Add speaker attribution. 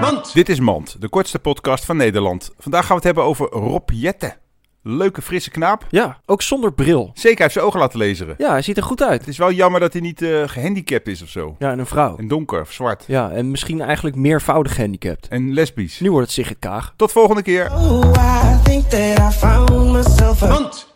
Speaker 1: Mand.
Speaker 2: Dit is Mand, de kortste podcast van Nederland. Vandaag gaan we het hebben over Rob Jette. Leuke, frisse knaap.
Speaker 1: Ja, ook zonder bril.
Speaker 2: Zeker, hij heeft zijn ogen laten laseren.
Speaker 1: Ja, hij ziet er goed uit.
Speaker 2: Het is wel jammer dat hij niet eh, gehandicapt is of zo.
Speaker 1: Ja, en een vrouw.
Speaker 2: En donker of zwart.
Speaker 1: Ja, en misschien eigenlijk meervoudig gehandicapt.
Speaker 2: En lesbisch.
Speaker 1: Nu wordt het Sigrid Kaag.
Speaker 2: Tot volgende keer.
Speaker 3: Oh, I think that I found myself a
Speaker 1: Mand.